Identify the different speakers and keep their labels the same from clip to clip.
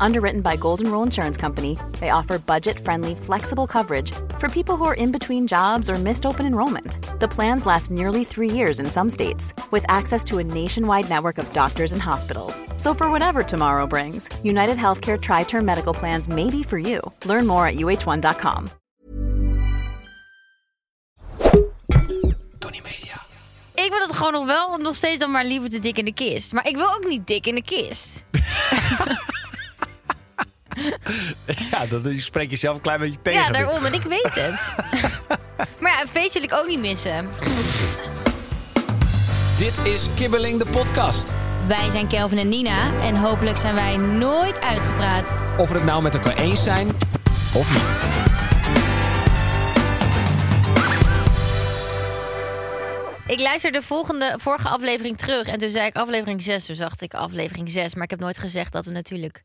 Speaker 1: Underwritten by Golden Rule Insurance Company, they offer budget friendly, flexible coverage for people who are in between jobs or missed open enrollment. The plans last nearly three years in some states, with access to a nationwide network of doctors and hospitals. So, for whatever tomorrow brings, United Healthcare Tri Term Medical Plans may be for you. Learn more at uh1.com.
Speaker 2: Tony Media.
Speaker 3: Ik wil het gewoon nog wel nog steeds dan maar liever te dik in de kist. Maar ik wil ook niet dik in de kist.
Speaker 2: Ja, dat is- spreek je zelf een klein beetje tegen.
Speaker 3: Ja, daarom. En ik weet het. maar ja, een feestje wil ik ook niet missen.
Speaker 4: Dit is Kibbeling de podcast.
Speaker 3: Wij zijn Kelvin en Nina. En hopelijk zijn wij nooit uitgepraat.
Speaker 4: Of we het nou met elkaar eens zijn of niet.
Speaker 3: Ik luister de volgende, vorige aflevering terug. En toen zei ik aflevering 6. Toen dacht ik aflevering 6. Maar ik heb nooit gezegd dat we natuurlijk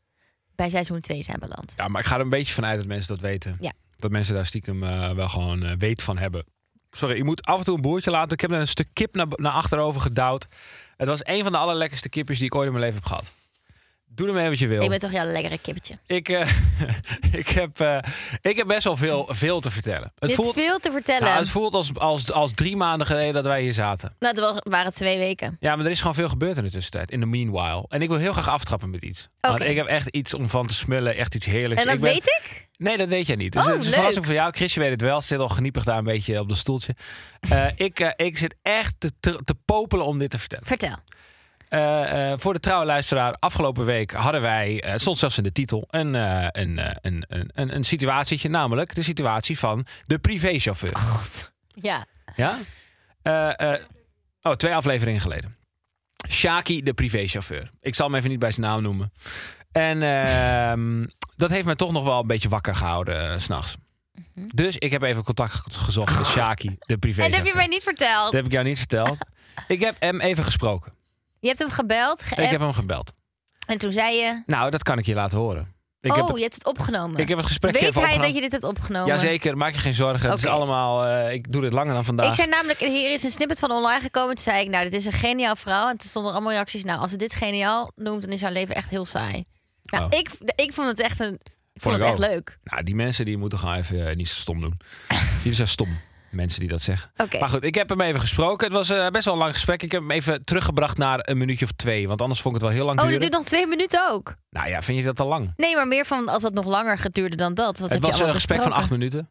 Speaker 3: bij seizoen 2 zijn beland.
Speaker 2: Ja, maar ik ga er een beetje vanuit dat mensen dat weten.
Speaker 3: Ja.
Speaker 2: Dat mensen daar stiekem eh, wel gewoon eh, weet van hebben. Sorry, je moet af en toe een boertje laten. Ik heb net een stuk kip naar, naar achterover gedouwd. Het was een van de allerlekkerste kippers die ik ooit in mijn leven heb gehad. Doe ermee wat je wil.
Speaker 3: Ik ben toch jouw lekkere kippetje.
Speaker 2: ik, eh, ik, heb, eh, ik heb best wel veel, veel te vertellen. Het
Speaker 3: Dit is veel te vertellen.
Speaker 2: Nou, het voelt als, als, als drie maanden geleden dat wij hier zaten.
Speaker 3: Nou, het wa- waren twee weken.
Speaker 2: Ja, maar er is gewoon veel gebeurd in de tussentijd. In de meanwhile. En ik wil heel graag aftrappen met iets. Want
Speaker 3: Oké.
Speaker 2: ik heb echt iets om van te smullen. Echt iets heerlijks.
Speaker 3: En dat
Speaker 2: Dus ik ben-
Speaker 3: weet ik?
Speaker 2: Nee, dat weet jij niet. Dus
Speaker 3: Oh,
Speaker 2: het is een
Speaker 3: leuk.
Speaker 2: verrassing voor jou. Chrisje weet het wel. Ze zit al geniepig daar een beetje op de stoeltje. Eh, ik, eh, ik zit echt te, te, te popelen om dit te vertellen.
Speaker 3: Vertel.
Speaker 2: Eh, eh, voor de trouwe luisteraar, afgelopen week hadden wij, eh, het stond zelfs in de titel, een, eh, een, eh, een, een, een, een situatietje. Namelijk de situatie van de privéchauffeur.
Speaker 3: Ja.
Speaker 2: Ja? Eh, eh, oh, twee afleveringen geleden. Shaki, de privéchauffeur. Ik zal hem even niet bij zijn naam noemen. En ehm, dat heeft me toch nog wel een beetje wakker gehouden eh, s s'nachts. Dus ik heb even contact ge- gezocht met Shaki, de
Speaker 3: Mhm. En dat heb je
Speaker 2: privéchauffeur.
Speaker 3: mij niet verteld.
Speaker 2: Dat heb ik jou niet verteld. Ik heb hem even gesproken.
Speaker 3: Je hebt hem gebeld, geappt.
Speaker 2: Ik heb hem gebeld.
Speaker 3: En toen zei je...
Speaker 2: Nou, dat kan ik je laten horen. Ik
Speaker 3: oh,
Speaker 2: heb het,
Speaker 3: je hebt het opgenomen.
Speaker 2: ik heb het gesprek
Speaker 3: Weet
Speaker 2: even
Speaker 3: hij
Speaker 2: opgenomen.
Speaker 3: dat je dit hebt opgenomen?
Speaker 2: Jazeker, maak je geen zorgen. Het is
Speaker 3: Oké.
Speaker 2: allemaal, eh, ik doe dit langer dan vandaag.
Speaker 3: Ik zei namelijk, hier is een snippet van online gekomen. Toen zei ik, nou, dit is een geniaal verhaal. En toen stonden er allemaal reacties. Nou, als ze dit geniaal noemt, dan is haar leven echt heel saai. Nou,
Speaker 2: Oh.
Speaker 3: ik, ik vond het echt, een, ik
Speaker 2: Vond
Speaker 3: vond
Speaker 2: ik
Speaker 3: het echt
Speaker 2: ook.
Speaker 3: leuk.
Speaker 2: Nou, die mensen die moeten gewoon even eh, niet zo stom doen. Jullie zijn stom, mensen die dat zeggen.
Speaker 3: Oké.
Speaker 2: Maar goed, ik heb hem even gesproken. Het was eh, best wel een lang gesprek. Ik heb hem even teruggebracht naar een minuutje of twee. Want anders vond ik het wel heel lang
Speaker 3: Oh, dit
Speaker 2: duren.
Speaker 3: duurt nog twee minuten ook.
Speaker 2: Nou ja, vind je dat te lang?
Speaker 3: Nee, maar meer van als dat nog langer geduurde dan dat.
Speaker 2: het
Speaker 3: Wat heb
Speaker 2: was
Speaker 3: je
Speaker 2: een
Speaker 3: allemaal
Speaker 2: gesprek van
Speaker 3: besproken?
Speaker 2: acht minuten.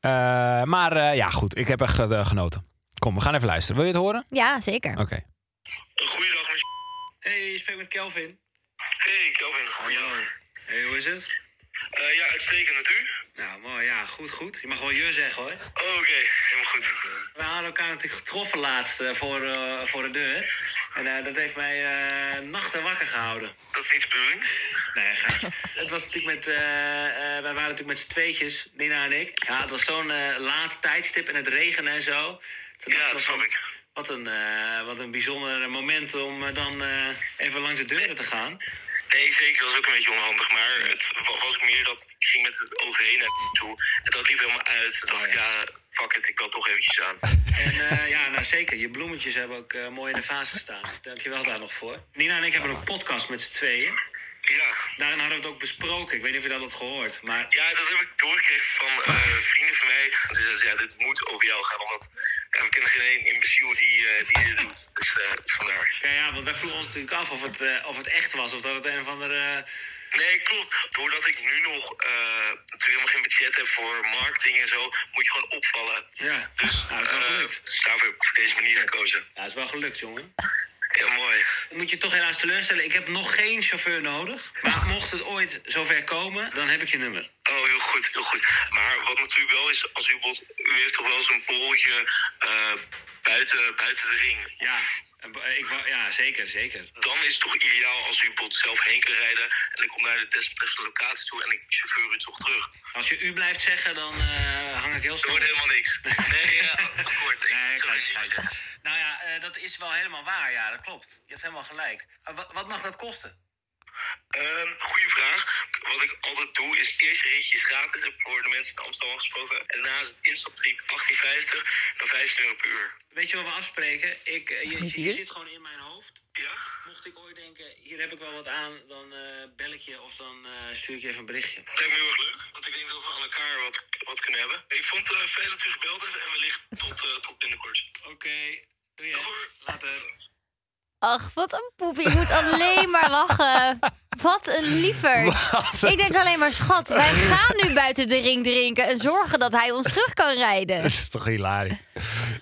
Speaker 2: Eh, maar eh, ja, goed. Ik heb echt eh, genoten. Kom, we gaan even luisteren. Wil je het horen?
Speaker 3: Ja, zeker.
Speaker 2: Oké.
Speaker 5: Goeiedag, met
Speaker 6: Hey, je spreekt met Kelvin.
Speaker 5: Hey, Kelvin, goeiedag.
Speaker 6: Hey, hoe is het?
Speaker 5: Eh ja, uitstekend met u.
Speaker 6: Nou, mooi, ja, goed, goed. Je mag wel je zeggen hoor.
Speaker 5: Oh, Oké, helemaal goed.
Speaker 6: We hadden elkaar natuurlijk getroffen laatst eh, voor, eh, voor de deur. En eh, dat heeft mij eh, nachten wakker gehouden. Nou
Speaker 5: Dat is niet de bedoeling.
Speaker 6: Nee, gek. Het was natuurlijk met. eh eh, wij waren natuurlijk met z'n tweetjes, Nina en ik. Ja, het was zo'n eh, laat tijdstip en het regenen en zo. Toen
Speaker 5: Ja,
Speaker 6: dachten we
Speaker 5: dat snap
Speaker 6: van,
Speaker 5: ik.
Speaker 6: Wat een, eh, wat een bijzonder moment om eh, dan eh, even langs de deuren te gaan.
Speaker 5: Nee, zeker, dat is ook een beetje onhandig. Maar het wa- was ook meer dat ik ging met het overheen naar toe. En dat liep helemaal uit. Toen dacht ik, ja, fuck it, ik bel toch eventjes aan.
Speaker 6: En eh, ja, nou zeker. Je bloemetjes hebben ook eh, mooi in de vaas gestaan. Dankjewel daar nog voor. Nina en ik hebben een podcast met z'n tweeën.
Speaker 5: Ja.
Speaker 6: Daarin hadden we het ook besproken. Ik weet niet of je dat had gehoord. Maar
Speaker 5: Ja, dat heb ik doorgekregen van eh, vrienden van mij. Dus zeiden ze, ja, dit moet over jou gaan. Want ja, we kennen geen één imbeciel die, eh, die dit doet. Dus eh, vandaar.
Speaker 6: ja, ja, want wij vroegen ons natuurlijk af of het, eh, of het echt was. Of dat het een of andere... eh,
Speaker 5: Nee, klopt. Doordat ik nu nog eh, natuurlijk helemaal geen budget heb voor marketing en zo, moet je gewoon opvallen.
Speaker 6: ja,
Speaker 5: Dus,
Speaker 6: nou, dat is wel
Speaker 5: eh,
Speaker 6: gelukt.
Speaker 5: dus daarvoor heb ik voor deze manier gekozen.
Speaker 6: Ja, dat is wel gelukt, jongen.
Speaker 5: Heel mooi.
Speaker 6: Ik moet je toch helaas teleurstellen. Ik heb nog geen chauffeur nodig. Maar mocht het ooit zover komen, dan heb ik je nummer.
Speaker 5: Oh, heel goed, heel goed. Maar wat natuurlijk wel is, als u bijvoorbeeld, u heeft toch wel zo'n polletje eh, buiten, buiten de ring.
Speaker 6: Ja, en bo- eh, ik, wou- ja zeker, zeker.
Speaker 5: Dan is het toch ideaal als u bijvoorbeeld zelf heen kan rijden en ik kom naar de desbetreffende locatie toe en ik chauffeur u toch terug.
Speaker 6: Als je u blijft zeggen, dan eh, hang ik heel
Speaker 5: Dat
Speaker 6: snel.
Speaker 5: wordt helemaal niks. Nee, ja, akkoord. Ik
Speaker 6: Nee,
Speaker 5: zou
Speaker 6: kijk,
Speaker 5: het niet meer
Speaker 6: kijk.
Speaker 5: zeggen.
Speaker 6: Nou ja, eh, dat is wel helemaal waar. Ja, dat klopt. Je hebt helemaal gelijk. Eh, wa- wat mag dat kosten?
Speaker 5: Ehm, goeie vraag. Wat ik altijd doe is eerst ritjes gratis. Heb voor de mensen in Amsterdam afgesproken. En naast het instaptriep 18,50 naar 15 euro per uur.
Speaker 6: Weet je wat we afspreken? Ik, eh, je,
Speaker 3: Niet
Speaker 6: je
Speaker 3: hier?
Speaker 6: zit gewoon in mijn hoofd.
Speaker 5: Ja?
Speaker 6: Mocht ik ooit denken, hier heb ik wel wat aan, dan eh, bel ik je of dan eh, stuur ik je even een berichtje.
Speaker 5: Lijkt me heel erg leuk. Want ik denk dat we aan elkaar wat, wat kunnen hebben. Ik vond het fijn dat u gebeld heeft. En wellicht tot, eh, tot binnenkort.
Speaker 6: Oké, doe je.
Speaker 5: Dag hoor.
Speaker 6: Later.
Speaker 3: Ach, wat een poepie. Je moet alleen maar lachen. Wat een lieverd. Ik denk alleen maar, schat, wij gaan nu buiten de ring drinken... en zorgen dat hij ons terug kan rijden.
Speaker 2: Dat is toch hilarisch.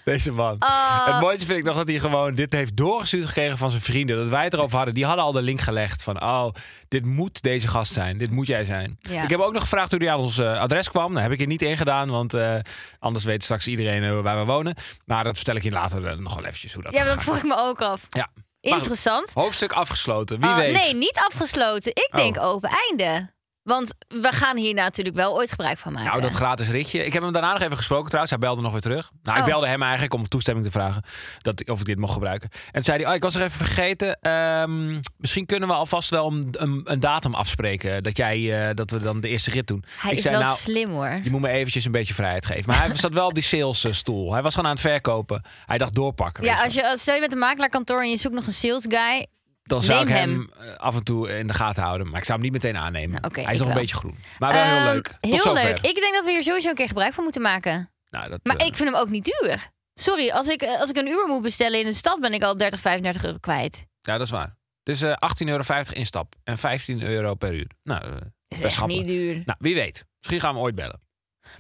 Speaker 2: Deze man.
Speaker 3: Ah.
Speaker 2: Het mooiste vind ik nog dat hij gewoon dit heeft doorgestuurd gekregen van zijn vrienden. Dat wij het erover hadden. Die hadden al de link gelegd van, oh, dit moet deze gast zijn. Dit moet jij zijn.
Speaker 3: Ja.
Speaker 2: Ik heb ook nog gevraagd hoe hij aan ons eh, adres kwam. Daar heb ik er niet in gedaan, want eh, anders weet straks iedereen eh, waar we wonen. Maar dat vertel ik je later eh, nog wel eventjes hoe dat
Speaker 3: Ja, maar dat
Speaker 2: gegaan
Speaker 3: vroeg ik me ook af.
Speaker 2: is. Ja. Maar goed,
Speaker 3: Interessant.
Speaker 2: Hoofdstuk afgesloten. Wie
Speaker 3: Oh,
Speaker 2: weet. Oh.
Speaker 3: Nee, niet afgesloten. Ik denk open einde. Want we gaan hier natuurlijk wel ooit gebruik van maken.
Speaker 2: Nou, dat gratis ritje. Ik heb hem daarna nog even gesproken trouwens. Hij belde nog weer terug. Nou, ik
Speaker 3: Oh.
Speaker 2: belde hem eigenlijk om toestemming te vragen dat, ik- of ik dit mocht gebruiken. En toen zei hij, oh, ik was er even vergeten. Ehm, misschien kunnen we alvast wel een, een, een datum afspreken. Dat, jij, eh, dat we dan de eerste rit doen.
Speaker 3: hij
Speaker 2: ik
Speaker 3: is
Speaker 2: zei,
Speaker 3: wel
Speaker 2: nou,
Speaker 3: slim hoor.
Speaker 2: je moet me eventjes een beetje vrijheid geven. Maar hij zat wel op die salesstoel. Hij was gewoon aan het verkopen. Hij dacht doorpakken. weet
Speaker 3: Ja,
Speaker 2: je
Speaker 3: als je, als, stel je met een makelaarkantoor en je zoekt nog een sales guy.
Speaker 2: dan zou ik
Speaker 3: Neem
Speaker 2: hem,
Speaker 3: hem.
Speaker 2: eh, af en toe in de gaten houden. Maar ik zou hem niet meteen aannemen.
Speaker 3: Nou, oké,
Speaker 2: Hij is nog
Speaker 3: ik
Speaker 2: een
Speaker 3: wel.
Speaker 2: beetje groen. Maar Ah, wel heel
Speaker 3: Ehm,
Speaker 2: leuk. Tot
Speaker 3: Heel
Speaker 2: zover.
Speaker 3: leuk. Ik denk dat we hier sowieso een keer gebruik van moeten maken.
Speaker 2: Nou, dat,
Speaker 3: Maar
Speaker 2: eh,
Speaker 3: ik vind hem ook niet duur. Sorry, als ik, eh, als ik een Uber moet bestellen in de stad, ben ik al 30, 35 euro kwijt.
Speaker 2: Ja, dat is waar. Dus eh 18,50 euro instap en 15 euro per uur. Nou, eh,
Speaker 3: Dat
Speaker 2: best
Speaker 3: is echt
Speaker 2: schappelijk.
Speaker 3: niet duur.
Speaker 2: Nou, wie weet. Misschien gaan we hem ooit bellen.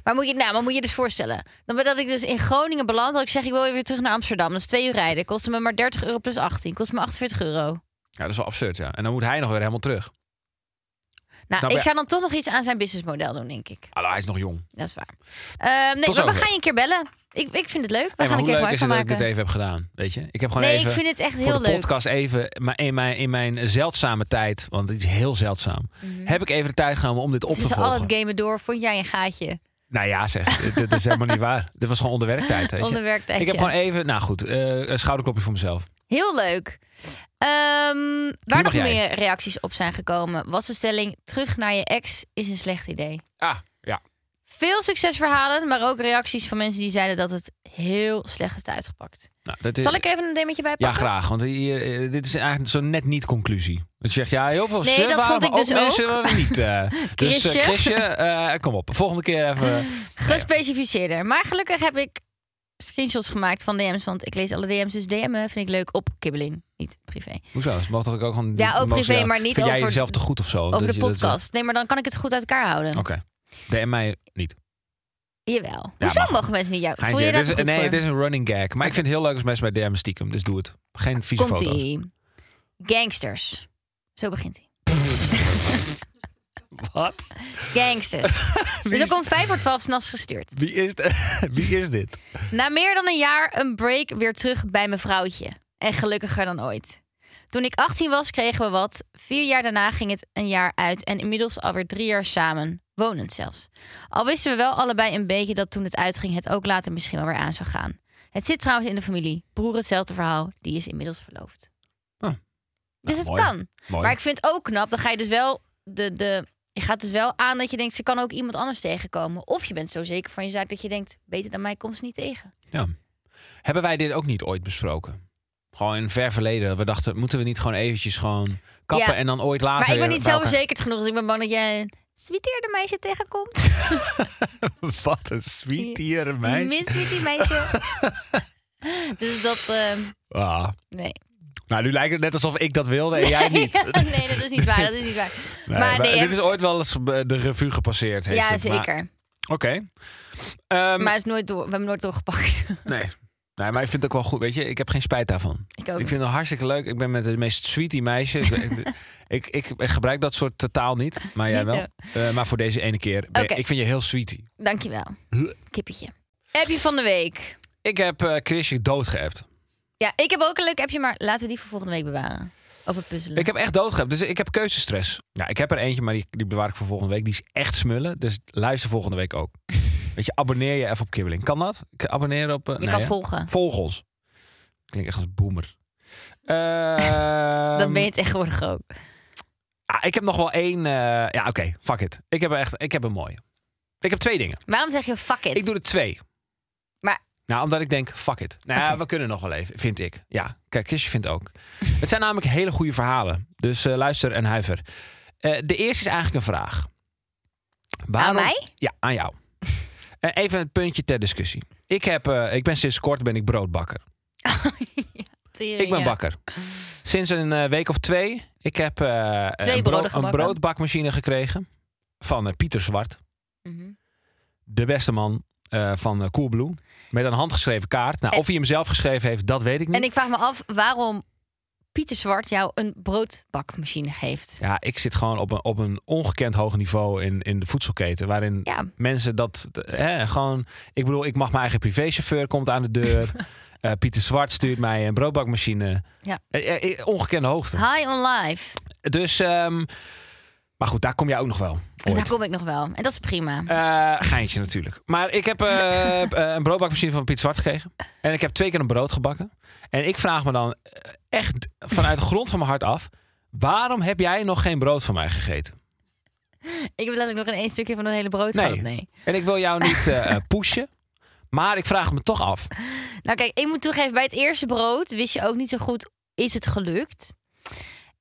Speaker 3: Maar moet je, nou, maar moet je dus voorstellen. Dan ben- dat ik dus in Groningen beland. Dat ik zeg, ik wil weer terug naar Amsterdam. Dat is twee uur rijden. Kost me maar 30 euro plus 18. Kost me 48 euro.
Speaker 2: Ja, dat is wel absurd, ja. En dan moet hij nog weer helemaal terug.
Speaker 3: Nou,
Speaker 2: Snap
Speaker 3: ik
Speaker 2: je?
Speaker 3: zou dan toch nog iets aan zijn businessmodel doen, denk ik.
Speaker 2: Allo, hij is nog jong.
Speaker 3: Dat is waar. Ehm, nee,
Speaker 2: Tot
Speaker 3: maar we
Speaker 2: zover.
Speaker 3: gaan je een keer bellen. Ik, ik vind het leuk. We
Speaker 2: Hey, maar
Speaker 3: gaan een
Speaker 2: hoe
Speaker 3: keer
Speaker 2: leuk
Speaker 3: gebruik
Speaker 2: is
Speaker 3: van
Speaker 2: het dat ik
Speaker 3: maken.
Speaker 2: dit even heb gedaan, weet je? Ik heb gewoon
Speaker 3: nee,
Speaker 2: even
Speaker 3: ik vind het echt
Speaker 2: voor
Speaker 3: heel
Speaker 2: de
Speaker 3: leuk.
Speaker 2: podcast even, maar in mijn, in mijn zeldzame tijd, want het is heel zeldzaam, heb ik even de tijd genomen om dit op te
Speaker 3: Tussen
Speaker 2: volgen.
Speaker 3: al Mhm. het gamen door vond jij een gaatje.
Speaker 2: Nou ja, zeg, dit- dit is helemaal niet waar. Dit was gewoon onder werktijd, weet je?
Speaker 3: Onder werktijd,
Speaker 2: Ik heb
Speaker 3: ja.
Speaker 2: gewoon even, nou goed, eh, een schouderklopje voor mezelf.
Speaker 3: Heel leuk. Ehm,
Speaker 2: mag
Speaker 3: waar nog
Speaker 2: jij.
Speaker 3: meer reacties op zijn gekomen, was de stelling: terug naar je ex is een slecht idee.
Speaker 2: Ah, ja.
Speaker 3: Veel succesverhalen, maar ook reacties van mensen die zeiden dat het heel slecht is uitgepakt.
Speaker 2: Nou, dat is,
Speaker 3: Zal ik er even een demmetje bij
Speaker 2: Ja,
Speaker 3: pakken?
Speaker 2: graag. Want hier, eh, dit is eigenlijk zo net niet conclusie. Dat je zegt, ja, heel veel
Speaker 3: Nee,
Speaker 2: surf
Speaker 3: dat
Speaker 2: aan,
Speaker 3: vond ik
Speaker 2: maar
Speaker 3: dus
Speaker 2: mensen willen niet. eh. dus eh,
Speaker 3: Chrisje.
Speaker 2: Chrisje, eh, kom op. Volgende keer even.
Speaker 3: Gespecificeerder. Maar gelukkig heb ik screenshots gemaakt van DM's, want ik lees alle DM's. Dus DM'en vind ik leuk op kibbeling, niet privé.
Speaker 2: Hoezo? Ze mogen toch ook gewoon...
Speaker 3: Ja, ook
Speaker 2: mogen ze-
Speaker 3: privé, maar niet
Speaker 2: Vind jij
Speaker 3: over-
Speaker 2: jezelf te goed of zo?
Speaker 3: Over
Speaker 2: Dat
Speaker 3: de
Speaker 2: je dat-
Speaker 3: podcast. Nee, maar dan kan ik het goed uit elkaar houden.
Speaker 2: Oké. DM mij niet.
Speaker 3: Jawel.
Speaker 2: maar
Speaker 3: Hoezo
Speaker 2: goed.
Speaker 3: mogen mensen niet jou? Voel
Speaker 2: Geintje.
Speaker 3: je dat
Speaker 2: Dit is-
Speaker 3: goed
Speaker 2: nee,
Speaker 3: voor?
Speaker 2: het is een running gag. Maar ik vind het heel leuk als mensen bij DM stiekem. Dus doe het. Geen vieze
Speaker 3: Komt
Speaker 2: foto's.
Speaker 3: ie. Gangsters. Zo begint hij.
Speaker 2: Wat?
Speaker 3: Gangsters. dus ook om vijf voor twaalf s'nachts gestuurd.
Speaker 2: Wie is, de- Wie is dit?
Speaker 3: Na meer dan een jaar een break weer terug bij mijn vrouwtje. En gelukkiger dan ooit. Toen ik 18 was, kregen we wat. Vier jaar daarna ging het een jaar uit. En inmiddels alweer drie jaar samen. Wonend zelfs. Al wisten we wel allebei een beetje dat toen het uitging... het ook later misschien wel weer aan zou gaan. Het zit trouwens in de familie. Broer hetzelfde verhaal. Die is inmiddels verloofd.
Speaker 2: Ah.
Speaker 3: Dus
Speaker 2: Nou,
Speaker 3: het
Speaker 2: mooi.
Speaker 3: kan.
Speaker 2: Mooi.
Speaker 3: Maar ik vind het ook knap, dan ga je dus wel de, de. Je gaat dus wel aan dat je denkt, ze kan ook iemand anders tegenkomen. Of je bent zo zeker van je zaak dat je denkt, beter dan mij komt ze niet tegen.
Speaker 2: Ja. Hebben wij dit ook niet ooit besproken? Gewoon in ver verleden. We dachten, moeten we niet gewoon eventjes gewoon kappen
Speaker 3: Ja.
Speaker 2: en dan ooit later...
Speaker 3: maar ik ben
Speaker 2: weer
Speaker 3: niet
Speaker 2: bij
Speaker 3: zelfverzekerd genoeg, dus ik ben bang dat jij een sweeteerde meisje tegenkomt.
Speaker 2: elkaar- Wat een sweetiere meisje.
Speaker 3: Min sweetie meisje. dus dat, eh,
Speaker 2: Ah.
Speaker 3: nee.
Speaker 2: Nou, nu lijkt het net alsof ik dat wilde en jij niet.
Speaker 3: nee, dat is niet waar, dat is niet waar.
Speaker 2: Nee,
Speaker 3: maar nee,
Speaker 2: dit is ooit wel eens eh, de revue gepasseerd. Heeft
Speaker 3: ja,
Speaker 2: het, maar-
Speaker 3: zeker.
Speaker 2: Oké. Ehm,
Speaker 3: Maar het is nooit door, we hebben hem nooit doorgepakt.
Speaker 2: nee. nee, maar ik vind het ook wel goed. Weet je, ik heb geen spijt daarvan.
Speaker 3: ik ook
Speaker 2: Ik
Speaker 3: niet.
Speaker 2: vind het hartstikke leuk. Ik ben met het meest sweetie meisje. ik, ik, ik, ik gebruik dat soort taal niet, maar jij
Speaker 3: Niet,
Speaker 2: wel. Eh, maar voor deze ene keer. ben-
Speaker 3: Oké.
Speaker 2: Ik vind je heel sweetie.
Speaker 3: Dankjewel. Kippetje. Appje van de week.
Speaker 2: Ik heb eh Chrisje doodgeappt.
Speaker 3: Ja, ik heb ook een leuk appje, maar laten we die voor volgende week bewaren. Over puzzelen.
Speaker 2: Ik heb echt doodgeappt. Dus ik heb keuzestress. Ja, ik heb er eentje, maar die, die bewaar ik voor volgende week. Die is echt smullen. Dus luister volgende week ook. Weet je, abonneer je even op Kibbeling. Kan dat? Ik Abonneer op... eh,
Speaker 3: je
Speaker 2: nee,
Speaker 3: kan
Speaker 2: hè?
Speaker 3: volgen.
Speaker 2: Volg ons. Klinkt echt als een boomer. Ehm,
Speaker 3: dat ben je tegenwoordig ook.
Speaker 2: Ah, ik heb nog wel één. eh, ja, oké, fuck it. Ik heb, er echt, ik heb een mooie. Ik heb twee dingen.
Speaker 3: Waarom zeg je fuck it?
Speaker 2: Ik doe er twee.
Speaker 3: Maar
Speaker 2: Nou, omdat ik denk, fuck it. Nou, ja, we kunnen nog wel even, vind ik. Ja, kijk, Chrisje vindt ook. Het zijn namelijk hele goede verhalen. Dus eh, luister en huiver. Eh, de eerste is eigenlijk een vraag.
Speaker 3: mij?
Speaker 2: Ja, aan jou. Eh, even een puntje ter discussie. Ik, heb, eh, ik ben sinds kort ben ik broodbakker.
Speaker 3: tering,
Speaker 2: Ik ben
Speaker 3: ja.
Speaker 2: bakker. Sinds een eh, week of twee. Ik heb eh, een, bro-
Speaker 3: broden
Speaker 2: een
Speaker 3: gebakken.
Speaker 2: broodbakmachine gekregen. Van eh, Pieter Zwart.
Speaker 3: Mhm.
Speaker 2: de beste man eh, van eh, Coolblue. Met een handgeschreven kaart. Nou,
Speaker 3: En-
Speaker 2: of hij hem zelf geschreven heeft, dat weet ik niet.
Speaker 3: En ik vraag me af waarom Pieter Zwart jou een broodbakmachine geeft.
Speaker 2: Ja, ik zit gewoon op een, op een ongekend hoog niveau in, in de voedselketen. Waarin
Speaker 3: Ja.
Speaker 2: mensen dat eh, hè, gewoon... Ik bedoel, ik mag mijn eigen privéchauffeur, komt aan de deur. Eh, Pieter Zwart stuurt mij een broodbakmachine.
Speaker 3: Ja.
Speaker 2: Eh, eh, ongekende hoogte.
Speaker 3: High on life.
Speaker 2: Dus, ehm, maar goed, daar kom jij ook nog wel.
Speaker 3: En
Speaker 2: ooit.
Speaker 3: daar kom ik nog wel. En dat is prima.
Speaker 2: Eh, geintje natuurlijk. Maar ik heb eh, eh, een broodbakmachine van Piet Zwart gekregen. En ik heb twee keer een brood gebakken. En ik vraag me dan eh, echt vanuit de grond van mijn hart af... waarom heb jij nog geen brood van mij gegeten?
Speaker 3: Ik heb letterlijk nog in één stukje van dat hele brood gehad. Nee.
Speaker 2: En ik wil jou niet eh, eh, pushen. Maar ik vraag me toch af.
Speaker 3: Nou kijk, ik moet toegeven, bij het eerste brood wist je ook niet zo goed, is het gelukt?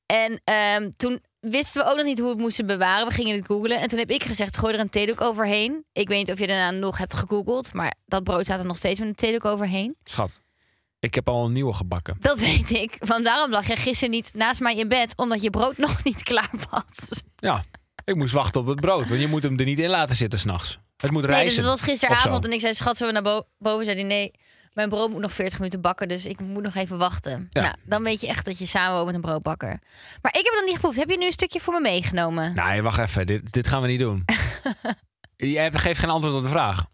Speaker 3: En ehm, toen wisten we ook nog niet hoe we het moesten bewaren. We gingen het googlen. En toen heb ik gezegd, gooi er een theedoek overheen. Ik weet niet of je daarna nog hebt gegoogeld, maar dat brood staat er nog steeds met een theedoek overheen.
Speaker 2: Schat, ik heb al een nieuwe gebakken.
Speaker 3: Dat weet ik, want daarom lag je gisteren niet naast mij in bed, omdat je brood nog niet klaar was. dus
Speaker 2: Ja, ik moest wachten op het brood. Want je moet hem er niet in laten zitten s'nachts. Het moet rijzen.
Speaker 3: Nee, dus het was
Speaker 2: of
Speaker 3: gisteravond
Speaker 2: zo.
Speaker 3: en ik zei, schat, zullen we naar bo- boven? Zei die, nee, mijn brood moet nog 40 minuten bakken, dus ik moet nog even wachten.
Speaker 2: Ja.
Speaker 3: Nou, dan weet je echt dat je samen woont met een broodbakker. Maar ik heb het nog niet geproefd. Heb je nu een stukje voor me meegenomen?
Speaker 2: Nee, wacht even. Dit, dit gaan we niet doen. Jij geeft geen antwoord op de vraag.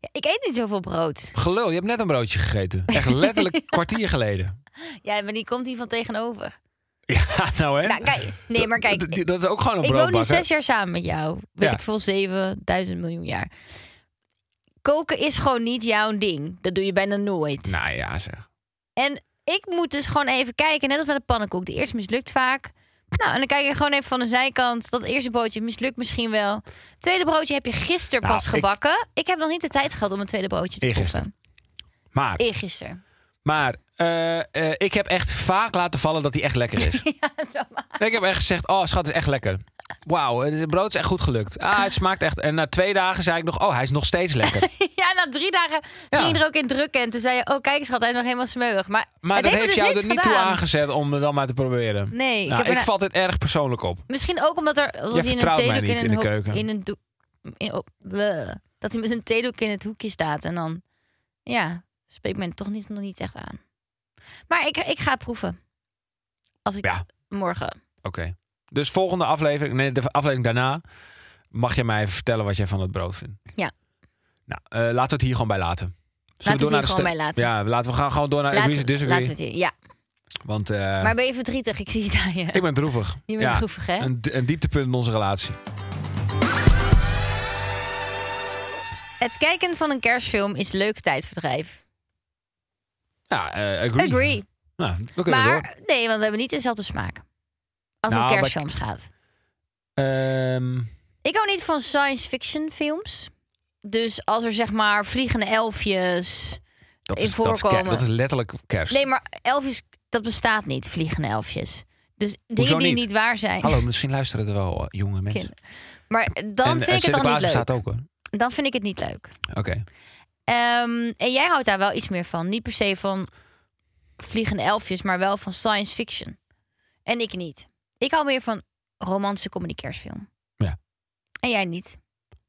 Speaker 3: Ja, ik eet niet zoveel brood.
Speaker 2: Gelul, je hebt net een broodje gegeten. Echt letterlijk een kwartier geleden.
Speaker 3: Ja, maar die komt hier van tegenover.
Speaker 2: Ja, nou hè?
Speaker 3: Nou, kijk, nee, maar kijk,
Speaker 2: Dat, dat- dat is ook gewoon een
Speaker 3: ik woon nu
Speaker 2: broodbakker.
Speaker 3: zes jaar samen met jou. Weet
Speaker 2: Ja.
Speaker 3: ik veel, 7000 miljoen jaar. Koken is gewoon niet jouw ding. Dat doe je bijna nooit.
Speaker 2: Nou ja, zeg.
Speaker 3: En ik moet dus gewoon even kijken, net als met een pannenkoek. De eerste mislukt vaak. Nou, en dan kijk je gewoon even van de zijkant. Dat eerste broodje mislukt misschien wel. Tweede broodje heb je gisteren
Speaker 2: Nou,
Speaker 3: pas
Speaker 2: ik-
Speaker 3: gebakken. Ik... heb nog niet de tijd gehad om een tweede broodje te
Speaker 2: Eergisteren.
Speaker 3: proeven.
Speaker 2: Maar,
Speaker 3: Eergisteren.
Speaker 2: maar eh, eh, ik heb echt vaak laten vallen dat hij echt lekker is. ik heb echt gezegd, oh schat, het is echt lekker. Wauw, het brood is echt goed gelukt. Ah, het smaakt echt. En na twee dagen zei ik nog, oh, hij is nog steeds lekker.
Speaker 3: Ja, na drie dagen
Speaker 2: Ja.
Speaker 3: ging je er ook in drukken. En toen zei je, oh kijk schat, hij is nog helemaal smeuig. Maar,
Speaker 2: Maar
Speaker 3: het
Speaker 2: dat
Speaker 3: heeft
Speaker 2: heeft
Speaker 3: me
Speaker 2: jou
Speaker 3: dus
Speaker 2: er
Speaker 3: niks
Speaker 2: niet toe
Speaker 3: gedaan.
Speaker 2: aangezet om het dan maar te proberen.
Speaker 3: Nee, ik
Speaker 2: Nou,
Speaker 3: heb
Speaker 2: ik,
Speaker 3: erna-
Speaker 2: val dit erg persoonlijk op.
Speaker 3: Misschien ook omdat er omdat hij
Speaker 2: vertrouwt mij
Speaker 3: theedoek
Speaker 2: niet
Speaker 3: een
Speaker 2: in de
Speaker 3: hoek-
Speaker 2: keuken.
Speaker 3: In een doek, in, op- bleh. dat hij met een theedoek in het hoekje staat. En dan, ja, spreekt men toch niet, nog niet echt aan. Maar ik, ik ga het proeven. Als ik
Speaker 2: Ja. Ah,
Speaker 3: het morgen...
Speaker 2: Oké. Dus volgende aflevering, nee, de aflevering daarna, mag je mij even vertellen wat jij van het brood vindt.
Speaker 3: Ja.
Speaker 2: Nou, eh, laten we het hier gewoon bij laten. Zullen we
Speaker 3: Laten we
Speaker 2: door
Speaker 3: het
Speaker 2: naar
Speaker 3: hier
Speaker 2: de
Speaker 3: gewoon
Speaker 2: ste-
Speaker 3: bij laten.
Speaker 2: Ja, laten we gaan gewoon door naar
Speaker 3: Laten-
Speaker 2: Agree to Disagree.
Speaker 3: laten we het hier. Ja,
Speaker 2: Want eh,
Speaker 3: maar ben je verdrietig? Ik zie het aan je.
Speaker 2: ik ben droevig.
Speaker 3: Je bent
Speaker 2: Ja,
Speaker 3: droevig, hè?
Speaker 2: Een, een dieptepunt in onze relatie.
Speaker 3: Het kijken van een kerstfilm is leuk tijdverdrijf.
Speaker 2: Ja, eh, agree.
Speaker 3: Agree.
Speaker 2: Nou, we kunnen door.
Speaker 3: Maar nee, want we hebben niet dezelfde smaak. Als het
Speaker 2: Nou,
Speaker 3: om
Speaker 2: maar-
Speaker 3: kerstfilms gaat.
Speaker 2: Ehm,
Speaker 3: Ik hou niet van science fiction films. Dus als er zeg maar vliegende elfjes.
Speaker 2: dat,
Speaker 3: In
Speaker 2: is, dat, is ker-
Speaker 3: voorkomen.
Speaker 2: dat is letterlijk kerst.
Speaker 3: Nee, maar elfjes, dat bestaat niet, vliegende elfjes. Dus dingen
Speaker 2: Hoezo
Speaker 3: die
Speaker 2: niet?
Speaker 3: niet waar zijn.
Speaker 2: Hallo, misschien luisteren er wel eh, jonge mensen.
Speaker 3: Kinderen. Maar dan
Speaker 2: en, eh,
Speaker 3: vind ik het al
Speaker 2: Sinterklaas
Speaker 3: niet leuk.
Speaker 2: staat ook hoor.
Speaker 3: Dan vind ik het niet leuk.
Speaker 2: Oké.
Speaker 3: Ehm, en jij houdt daar wel iets meer van. Niet per se van vliegende elfjes, maar wel van science fiction. En ik niet. Ik hou meer van romantische comedy kerstfilm.
Speaker 2: Ja.
Speaker 3: En jij niet.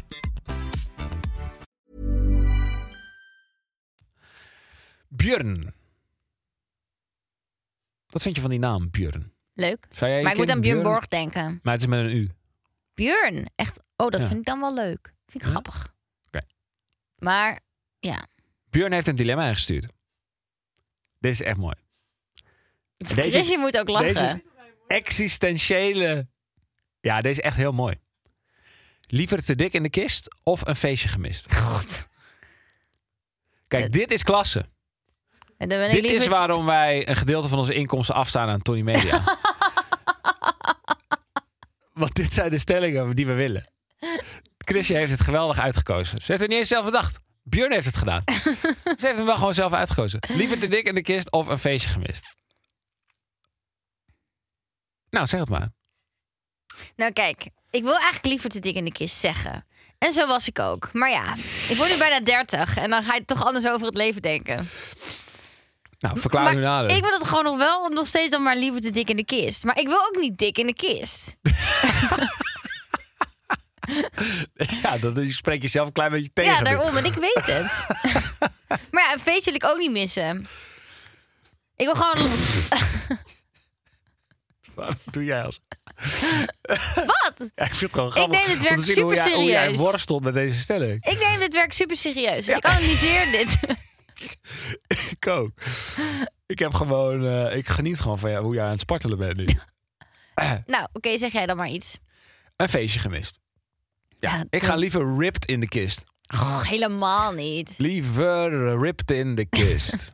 Speaker 2: Björn. Wat vind je van die naam, Björn?
Speaker 3: Leuk.
Speaker 2: Zou jij je
Speaker 3: Maar ik moet
Speaker 2: kind
Speaker 3: aan Björn Borg denken.
Speaker 2: Maar het is met een U.
Speaker 3: Björn, echt... Oh, dat
Speaker 2: Ja.
Speaker 3: vind ik dan wel leuk. Vind ik grappig.
Speaker 2: Oké.
Speaker 3: Maar, ja.
Speaker 2: Björn heeft een dilemma ingestuurd. Dit is echt mooi.
Speaker 3: Deze dus je moet ook lachen.
Speaker 2: Deze is existentiële. Ja, deze is echt heel mooi. Liever te dik in de kist of een feestje gemist?
Speaker 3: Eh.
Speaker 2: Kijk, dit is klasse.
Speaker 3: En dan ben ik
Speaker 2: Dit
Speaker 3: liever-
Speaker 2: is waarom wij een gedeelte van onze inkomsten afstaan aan Tony Media. Want dit zijn de stellingen die we willen. Chrisje heeft het geweldig uitgekozen. Ze heeft het niet eens zelf bedacht. Björn heeft het gedaan. Ze heeft hem wel gewoon zelf uitgekozen. Liever te dik in de kist of een feestje gemist. Nou, zeg het maar.
Speaker 3: Nou kijk, ik wil eigenlijk liever te dik in de kist zeggen. En zo was ik ook. Maar ja, ik word nu bijna 30 en dan ga je toch anders over het leven denken.
Speaker 2: Nou, verklaar
Speaker 3: Maar
Speaker 2: uw nader.
Speaker 3: ik wil het gewoon nog wel nog steeds dan maar liever te dik in de kist. Maar ik wil ook niet dik in de kist.
Speaker 2: Ja, dat is- spreek jezelf een klein beetje tegen.
Speaker 3: ja,
Speaker 2: nu.
Speaker 3: daarom. En ik weet het. maar ja, een feest wil ik ook niet missen. Ik wil gewoon...
Speaker 2: Wat doe jij als...
Speaker 3: Wat?
Speaker 2: Ja, ik vind het gewoon
Speaker 3: neem
Speaker 2: grappig.
Speaker 3: het
Speaker 2: om
Speaker 3: werk
Speaker 2: te zien hoe
Speaker 3: super
Speaker 2: jij- Hoe jij
Speaker 3: serieus.
Speaker 2: worstelt met deze stelling.
Speaker 3: Ik neem dit werk super serieus. Dus ik analyseer dit.
Speaker 2: Ik ook. Ik heb gewoon... eh, ik geniet gewoon van jou, hoe jij aan het spartelen bent nu.
Speaker 3: nou, oké, zeg jij dan maar iets.
Speaker 2: Een feestje gemist. Ja,
Speaker 3: Ja,
Speaker 2: ik ga liever ripped in de kist. Oh,
Speaker 3: Och, helemaal niet.
Speaker 2: Liever ripped in de kist.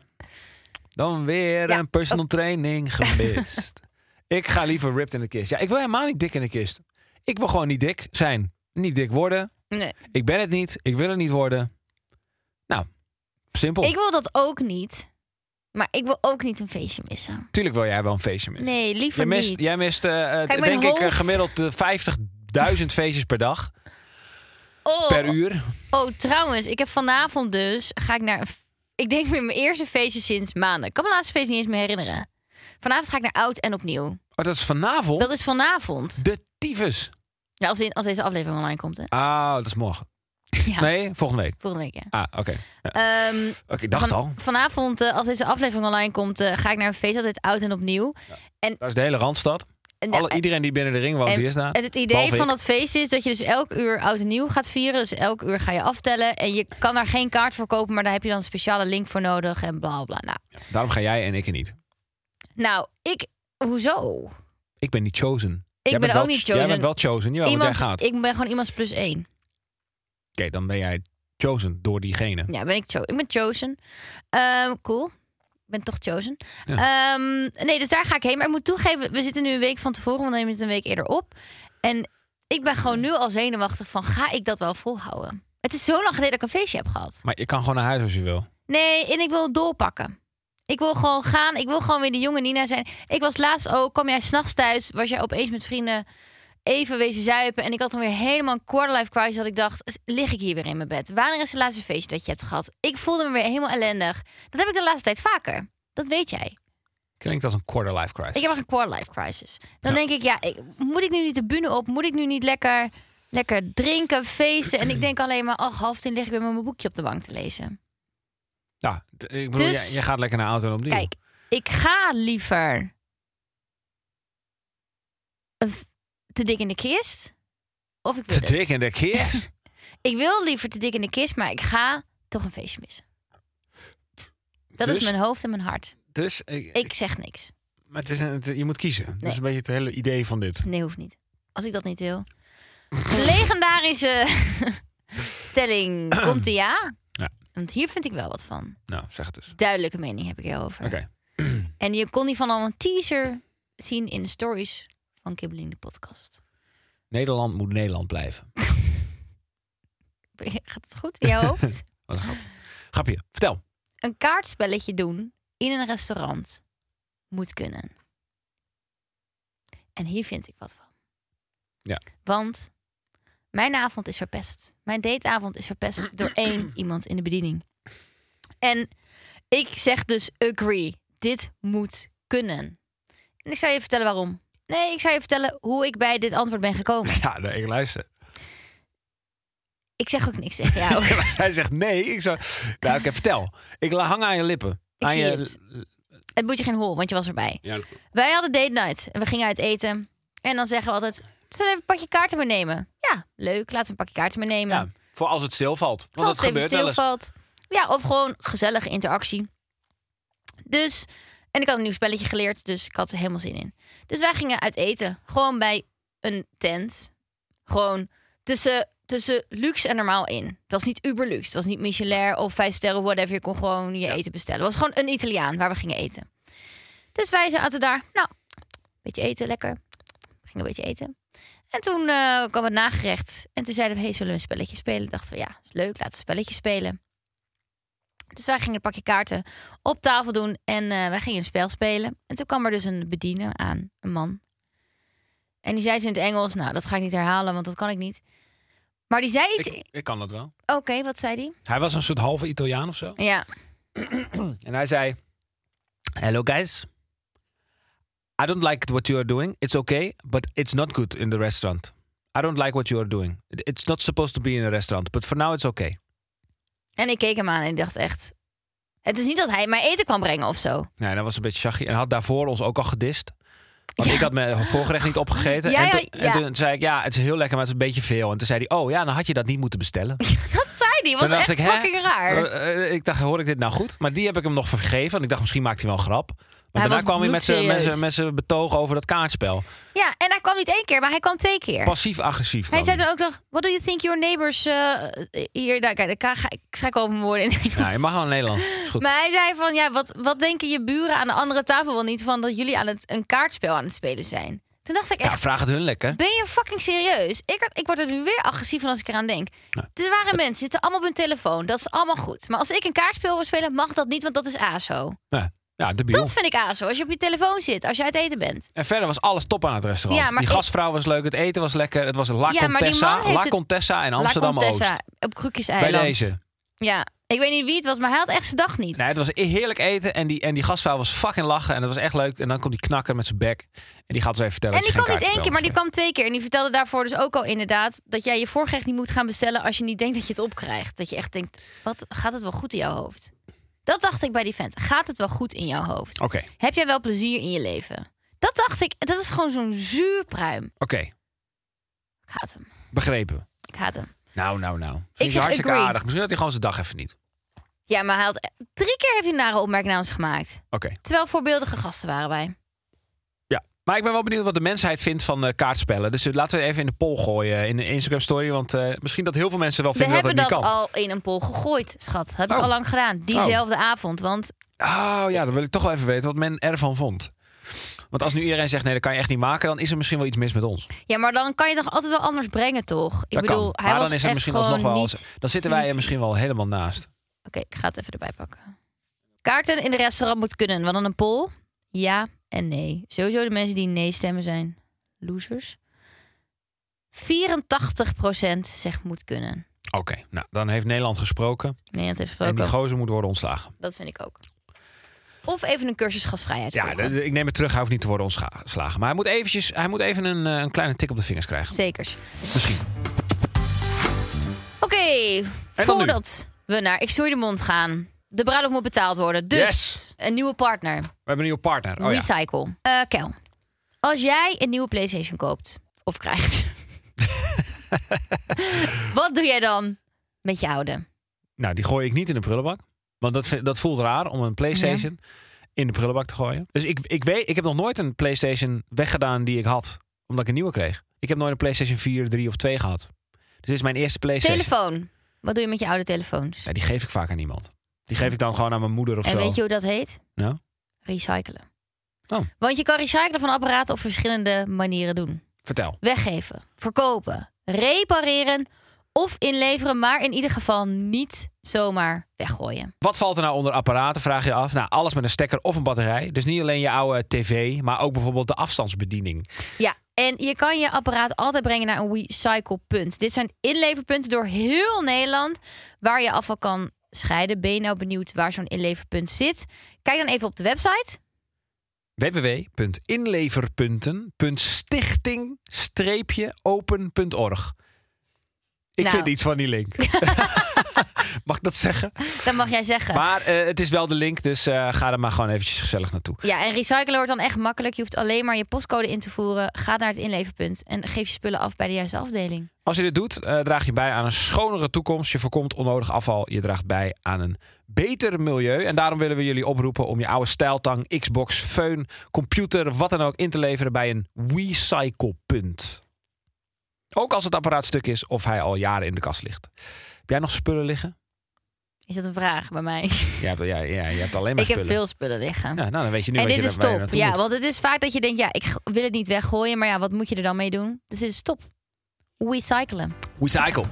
Speaker 2: Dan weer
Speaker 3: Ja, oh.
Speaker 2: een personal training gemist. ik ga liever ripped in de kist. Ja, ik wil helemaal niet dik in de kist. Ik wil gewoon niet dik zijn. Niet dik worden.
Speaker 3: Nee.
Speaker 2: Ik ben het niet. Ik wil het niet worden. Nou, simpel.
Speaker 3: Ik wil dat ook niet. Maar ik wil ook niet een feestje missen.
Speaker 2: Tuurlijk wil jij wel een feestje missen.
Speaker 3: Nee, liever
Speaker 2: jij mist,
Speaker 3: niet.
Speaker 2: Jij mist eh, eh,
Speaker 3: Kijk, mijn
Speaker 2: denk ik, eh,
Speaker 3: hoofd-
Speaker 2: gemiddeld eh, 50.000 feestjes per dag.
Speaker 3: oh,
Speaker 2: Per uur.
Speaker 3: oh, trouwens, ik heb vanavond dus... Ga ik naar... een f- Ik denk weer mijn eerste feestje sinds maanden. Ik kan mijn laatste feest niet eens meer herinneren. Vanavond ga ik naar Oud en Opnieuw.
Speaker 2: Oh, dat is vanavond
Speaker 3: Dat is vanavond.
Speaker 2: de tyfus.
Speaker 3: Ja, als, in, als deze aflevering online komt, hè.
Speaker 2: Ah, dat is morgen.
Speaker 3: Ja,
Speaker 2: Nee, volgende week.
Speaker 3: volgende week, ja.
Speaker 2: Ah, oké. Ja,
Speaker 3: Ehm,
Speaker 2: oké, ik dacht
Speaker 3: van-
Speaker 2: al.
Speaker 3: Vanavond, eh, als deze aflevering online komt... eh, ga ik naar een feest, altijd Oud en Opnieuw.
Speaker 2: Daar is de hele Randstad.
Speaker 3: En,
Speaker 2: Alle, iedereen die binnen de ring woont,
Speaker 3: En-
Speaker 2: die is daar.
Speaker 3: En het idee
Speaker 2: Behalve
Speaker 3: van
Speaker 2: ik.
Speaker 3: dat feest is dat je dus elk uur oud en nieuw gaat vieren. Dus elk uur ga je aftellen. En je kan daar geen kaart voor kopen, maar daar heb je dan een speciale link voor nodig. En bla bla. Nou,
Speaker 2: Daarom ga jij en ik er niet.
Speaker 3: nou ik. Hoezo?
Speaker 2: Ik ben niet chosen. Ik
Speaker 3: ben ook niet
Speaker 2: Jij
Speaker 3: chosen.
Speaker 2: bent wel chosen. Jawel, want jij gaat. Oké,
Speaker 3: ik ben gewoon iemands plus één.
Speaker 2: dan ben jij chosen door diegene.
Speaker 3: Ja, ben ik, cho- ik ben chosen. Ehm, cool. Ik ben toch chosen. Ehm, nee, dus daar ga ik heen. Maar ik moet toegeven, we zitten nu een week van tevoren. We nemen het een week eerder op. En ik ben gewoon nu al zenuwachtig van, ga ik dat wel volhouden? Het is zo lang geleden dat ik een feestje heb gehad.
Speaker 2: Maar je kan gewoon naar huis als je wil.
Speaker 3: Nee, en ik wil het doorpakken. Ik wil gewoon gaan. Ik wil gewoon weer de jonge Nina zijn. Ik was laatst ook, kwam jij s'nachts thuis, was jij opeens met vrienden even wezen zuipen. En ik had dan weer helemaal een quarterlife crisis dat ik dacht, lig ik hier weer in mijn bed? Wanneer is het laatste feestje dat je hebt gehad? Ik voelde me weer helemaal ellendig. Dat heb ik de laatste tijd vaker. Dat weet jij.
Speaker 2: Klinkt als een quarter life crisis.
Speaker 3: Ik heb echt een quarterlife crisis. Dan denk ik, ja, ik, moet ik nu niet de bühne op? Moet ik nu niet lekker, lekker drinken, feesten? En ik denk alleen maar, ach, half tien lig ik weer met mijn boekje op de bank te lezen.
Speaker 2: Ja, t- ik bedoel,
Speaker 3: Dus-
Speaker 2: jij- je, gaat lekker naar auto en opnieuw.
Speaker 3: Kijk, Ik ga liever een v- te dik in de kist. Of ik wil
Speaker 2: Te
Speaker 3: het.
Speaker 2: dik in de kist.
Speaker 3: Ik wil liever te dik in de kist, maar ik ga toch een feestje missen. Dat
Speaker 2: Dus?
Speaker 3: is mijn hoofd en mijn hart.
Speaker 2: Dus ik,
Speaker 3: Ik zeg niks.
Speaker 2: maar het is een- het- je moet kiezen. Dat is een beetje het hele idee van dit.
Speaker 3: Nee, hoeft niet. Als ik dat niet wil. Legendarische stelling. Komt ie ja?
Speaker 2: Ja.
Speaker 3: Want hier vind ik wel wat van.
Speaker 2: Nou, zeg het eens.
Speaker 3: Duidelijke mening heb ik hierover.
Speaker 2: Oké.
Speaker 3: En je kon die van al een teaser zien in de stories van Kibbeling de podcast.
Speaker 2: Nederland moet Nederland blijven.
Speaker 3: Gaat het goed in je hoofd?
Speaker 2: Wat een grap. Grapje. Vertel.
Speaker 3: een kaartspelletje doen in een restaurant moet kunnen. En hier vind ik wat van.
Speaker 2: Ja.
Speaker 3: Want mijn avond is verpest. Mijn dateavond is verpest door één iemand in de bediening. En ik zeg dus agree. Dit moet kunnen. En ik zou je vertellen waarom. Nee, ik zou je vertellen hoe ik bij dit antwoord ben gekomen.
Speaker 2: Ja, nee, ik luister.
Speaker 3: Ik zeg ook niks tegen jou.
Speaker 2: Hij zegt nee. Ik zou... Nou, oké, vertel. Ik la- hang aan je lippen.
Speaker 3: Ik
Speaker 2: aan
Speaker 3: zie
Speaker 2: je...
Speaker 3: het. Het moet je geen hol, want je was erbij.
Speaker 2: Ja,
Speaker 3: Wij hadden date night en we gingen uit eten. En dan zeggen we altijd, zullen we even een pakje kaarten meenemen? Ja, leuk, laten we een pakje kaarten meenemen.
Speaker 2: ja, voor als het stilvalt. Want
Speaker 3: Als
Speaker 2: dat
Speaker 3: het even
Speaker 2: gebeurt wel eens.
Speaker 3: stilvalt. Ja, of gewoon gezellige interactie. Dus, en ik had een nieuw spelletje geleerd, dus ik had er helemaal zin in. Dus wij gingen uit eten, gewoon bij een tent. Gewoon tussen, tussen luxe en normaal in. Het was niet uber luxe, het was niet Michelin of vijf sterren, whatever. Je kon gewoon je eten bestellen. Het was gewoon een Italiaan waar we gingen eten. Dus wij zaten daar, nou, beetje eten, lekker. We gingen een beetje eten. En toen eh, kwam het nagerecht. En toen zeiden we, hey, zullen we een spelletje spelen? Dachten we, ja, is leuk, laten we een spelletje spelen. Dus wij gingen een pakje kaarten op tafel doen. En eh, wij gingen een spel spelen. En toen kwam er dus een bediener aan, een man. En die zei iets in het Engels. Nou, dat ga ik niet herhalen, want dat kan ik niet. Maar die zei iets...
Speaker 2: Ik, ik kan dat wel.
Speaker 3: Oké, wat zei die?
Speaker 2: Hij was een soort halve Italiaan of zo.
Speaker 3: Ja.
Speaker 2: En hij zei: Hello guys. I don't like what you are doing. It's okay, but it's not good in the restaurant. I don't like what you are doing. It- It's not supposed to be in a restaurant, but for now it's okay.
Speaker 3: En ik keek hem aan en ik dacht echt... Het is niet dat hij mij eten kwam brengen of zo.
Speaker 2: Nee, Nou, dat was een beetje chagrie. En had daarvoor ons ook al gedist. Want ik had mijn voorgerecht niet opgegeten.
Speaker 3: Ja,
Speaker 2: en,
Speaker 3: ja,
Speaker 2: toen,
Speaker 3: ja.
Speaker 2: en toen zei ik, ja, het is heel lekker, maar het is een beetje veel. En toen zei hij, oh ja, dan had je dat niet moeten bestellen.
Speaker 3: Dat zei die. Was
Speaker 2: Toen dacht
Speaker 3: echt
Speaker 2: ik, hè?
Speaker 3: fucking raar.
Speaker 2: Eh, eh, ik dacht, hoor ik dit nou goed? Maar die heb ik hem nog vergeven. Want ik dacht, misschien maakt hij wel een grap. Maar
Speaker 3: Hij
Speaker 2: daarna
Speaker 3: was
Speaker 2: kwam hij met zijn- met
Speaker 3: bloedserieus.
Speaker 2: zijn- met zijn betoog over dat kaartspel.
Speaker 3: Ja, en hij kwam niet één keer, maar hij kwam twee keer.
Speaker 2: Passief-agressief.
Speaker 3: Hij
Speaker 2: kwam
Speaker 3: zei dan ook nog, what do you think your neighbors... eh, hier, daar, kijk, daar ga ik schrik over mijn woorden in het
Speaker 2: Ja,
Speaker 3: Engels.
Speaker 2: je mag wel in Nederland. Is goed.
Speaker 3: Maar hij zei van, ja, wat, wat denken je buren aan de andere tafel wel niet van... dat jullie aan het, een kaartspel aan het spelen zijn? Toen dacht ik
Speaker 2: ja,
Speaker 3: echt,
Speaker 2: vraag het hun lekker.
Speaker 3: ben je fucking serieus? Ik, had- ik word er nu weer agressief van als ik eraan denk.
Speaker 2: Ja.
Speaker 3: Er waren mensen, zitten allemaal op hun telefoon. Dat is allemaal goed. Maar als ik een kaartspel wil spelen, mag dat niet, want dat is ASO.
Speaker 2: Ja, ja debiel.
Speaker 3: Dat vind ik ASO, als je op je telefoon zit, als je uit eten bent.
Speaker 2: En verder was alles top aan het restaurant.
Speaker 3: Ja, maar
Speaker 2: die
Speaker 3: ik-
Speaker 2: gastvrouw was leuk, het eten was lekker. Het was La
Speaker 3: Ja, maar die
Speaker 2: Contessa,
Speaker 3: man heeft
Speaker 2: La
Speaker 3: het-
Speaker 2: Contessa in
Speaker 3: La
Speaker 2: Amsterdam-Oost.
Speaker 3: Contessa, op Krukjeseiland.
Speaker 2: Bij deze.
Speaker 3: Ja, ik weet niet wie het was, maar hij had echt zijn dag niet.
Speaker 2: Nee, het was e- heerlijk eten en die, en die gastvrouw was fucking lachen. En dat was echt leuk. En dan komt die knakker met zijn bek. En die gaat zo even vertellen
Speaker 3: en
Speaker 2: dat
Speaker 3: die
Speaker 2: je
Speaker 3: kwam
Speaker 2: geen
Speaker 3: niet één keer, maar die
Speaker 2: kaartspel
Speaker 3: kwam twee keer. En die vertelde daarvoor dus ook al inderdaad... dat jij je voorgerecht niet moet gaan bestellen als je niet denkt dat je het opkrijgt. Dat je echt denkt, wat gaat het wel goed in jouw hoofd? Dat dacht ik bij die vent. Gaat het wel goed in jouw hoofd?
Speaker 2: Oké, oké.
Speaker 3: Heb jij wel plezier in je leven? Dat dacht ik. Dat is gewoon zo'n zuurpruim. Ik haat hem.
Speaker 2: Begrepen.
Speaker 3: Ik haat hem.
Speaker 2: Nou, nou, nou. Vind
Speaker 3: zeg
Speaker 2: hartstikke
Speaker 3: agree.
Speaker 2: aardig. Misschien had hij gewoon zijn dag even niet.
Speaker 3: Ja, maar hij had drie keer heeft hij een nare opmerking naar ons gemaakt.
Speaker 2: Oké.
Speaker 3: Terwijl voorbeeldige gasten waren wij.
Speaker 2: Ja, maar ik ben wel benieuwd wat de mensheid vindt van eh, kaartspellen. Dus eh, laten we even in de poll gooien in de Instagram story. Want eh, misschien dat heel veel mensen wel
Speaker 3: We
Speaker 2: vinden
Speaker 3: hebben
Speaker 2: dat
Speaker 3: dat,
Speaker 2: het niet kan.
Speaker 3: al in een poll gegooid, schat. Heb
Speaker 2: Oh.
Speaker 3: ik al lang gedaan. Diezelfde avond. Want
Speaker 2: Oh ja, dan wil ik toch wel even weten wat men ervan vond. Want als nu iedereen zegt nee, dat kan je echt niet maken, dan is er misschien wel iets mis met ons.
Speaker 3: ja, maar dan kan je het nog altijd wel anders brengen, toch? Ik
Speaker 2: dat
Speaker 3: bedoel,
Speaker 2: kan.
Speaker 3: hij
Speaker 2: maar
Speaker 3: was
Speaker 2: dan is
Speaker 3: echt
Speaker 2: het misschien
Speaker 3: gewoon
Speaker 2: alsnog wel.
Speaker 3: niet-
Speaker 2: eens- dan zitten wij er
Speaker 3: niet-
Speaker 2: misschien wel helemaal naast.
Speaker 3: Oké, ik ga het even erbij pakken. Kaarten in de restaurant moet kunnen. Want dan een poll. Ja en nee. Sowieso de mensen die nee stemmen zijn losers. 84% zegt moet kunnen.
Speaker 2: Oké, nou dan heeft Nederland gesproken.
Speaker 3: Nee, dat heeft
Speaker 2: En die
Speaker 3: gesproken.
Speaker 2: gozer moet worden ontslagen.
Speaker 3: Dat vind ik ook. Of even een cursus gasvrijheid.
Speaker 2: Ja,
Speaker 3: volgen.
Speaker 2: d- d- ik neem het terug. Hij hoeft niet te worden ontsla- ontslagen. Maar hij moet, eventjes, hij moet even een, eh, een kleine tik op de vingers krijgen.
Speaker 3: Zekers.
Speaker 2: Misschien.
Speaker 3: Oké,
Speaker 2: dan nu?
Speaker 3: voordat we naar Ik Stoei de Mond gaan. De bruiloft moet betaald worden. Dus
Speaker 2: Yes.
Speaker 3: Een nieuwe partner.
Speaker 2: We hebben een nieuwe partner. Oh, ja.
Speaker 3: Recycle. Eh Kel, als jij een nieuwe PlayStation koopt of krijgt, wat doe jij dan met je oude?
Speaker 2: Nou, die gooi ik niet in de prullenbak. Want dat, vind- dat voelt raar om een PlayStation in de prullenbak te gooien. Dus ik, ik weet, ik heb nog nooit een PlayStation weggedaan die ik had, omdat ik een nieuwe kreeg. Ik heb nooit een PlayStation 4, 3 of 2 gehad. Dus dit is mijn eerste PlayStation.
Speaker 3: Telefoon. Wat doe je met je oude telefoons?
Speaker 2: Ja, die geef ik vaak aan iemand. Die geef ik dan gewoon aan mijn moeder of
Speaker 3: en
Speaker 2: zo.
Speaker 3: weet je hoe dat heet?
Speaker 2: Nou?
Speaker 3: Recyclen.
Speaker 2: Oh.
Speaker 3: Want je kan recyclen van apparaten op verschillende manieren doen.
Speaker 2: Vertel.
Speaker 3: Weggeven, verkopen, repareren of inleveren, maar in ieder geval niet zomaar weggooien.
Speaker 2: Wat valt er nou onder apparaten, vraag je af. Nou, alles met een stekker of een batterij. Dus niet alleen je oude tv, maar ook bijvoorbeeld de afstandsbediening.
Speaker 3: Ja, en je kan je apparaat altijd brengen naar een recyclepunt. Dit zijn inleverpunten door heel Nederland waar je afval kan scheiden. Ben je nou benieuwd waar zo'n inleverpunt zit? Kijk dan even op de website.
Speaker 2: www.inleverpunten.stichting-open.org Ik
Speaker 3: Nou.
Speaker 2: vind iets van die link. Mag ik dat zeggen?
Speaker 3: Dan mag jij zeggen.
Speaker 2: Maar eh, het is wel de link, dus eh, ga er maar gewoon eventjes gezellig naartoe.
Speaker 3: Ja, en recyclen wordt dan echt makkelijk. Je hoeft alleen maar je postcode in te voeren. Ga naar het inleverpunt en geef je spullen af bij de juiste afdeling.
Speaker 2: Als je dit doet, eh, draag je bij aan een schonere toekomst. Je voorkomt onnodig afval. Je draagt bij aan een beter milieu. En daarom willen we jullie oproepen om je oude stijltang, Xbox, föhn, computer, wat dan ook in te leveren bij een recyclepunt. Ook als het apparaat stuk is of hij al jaren in de kast ligt. Heb jij nog spullen liggen?
Speaker 3: Is dat een vraag bij mij?
Speaker 2: Ja, ja, ja, je hebt alleen maar
Speaker 3: Ik heb
Speaker 2: spullen.
Speaker 3: veel spullen liggen.
Speaker 2: Ja, nou, dan weet je nu
Speaker 3: en
Speaker 2: wat
Speaker 3: dit
Speaker 2: je
Speaker 3: is
Speaker 2: daar- waar je
Speaker 3: top.
Speaker 2: naartoe
Speaker 3: Ja,
Speaker 2: moet.
Speaker 3: want het is vaak dat je denkt, ja, ik g- wil het niet weggooien, maar ja, wat moet je er dan mee doen? Dus dit is top. Recyclen.
Speaker 2: Recycle.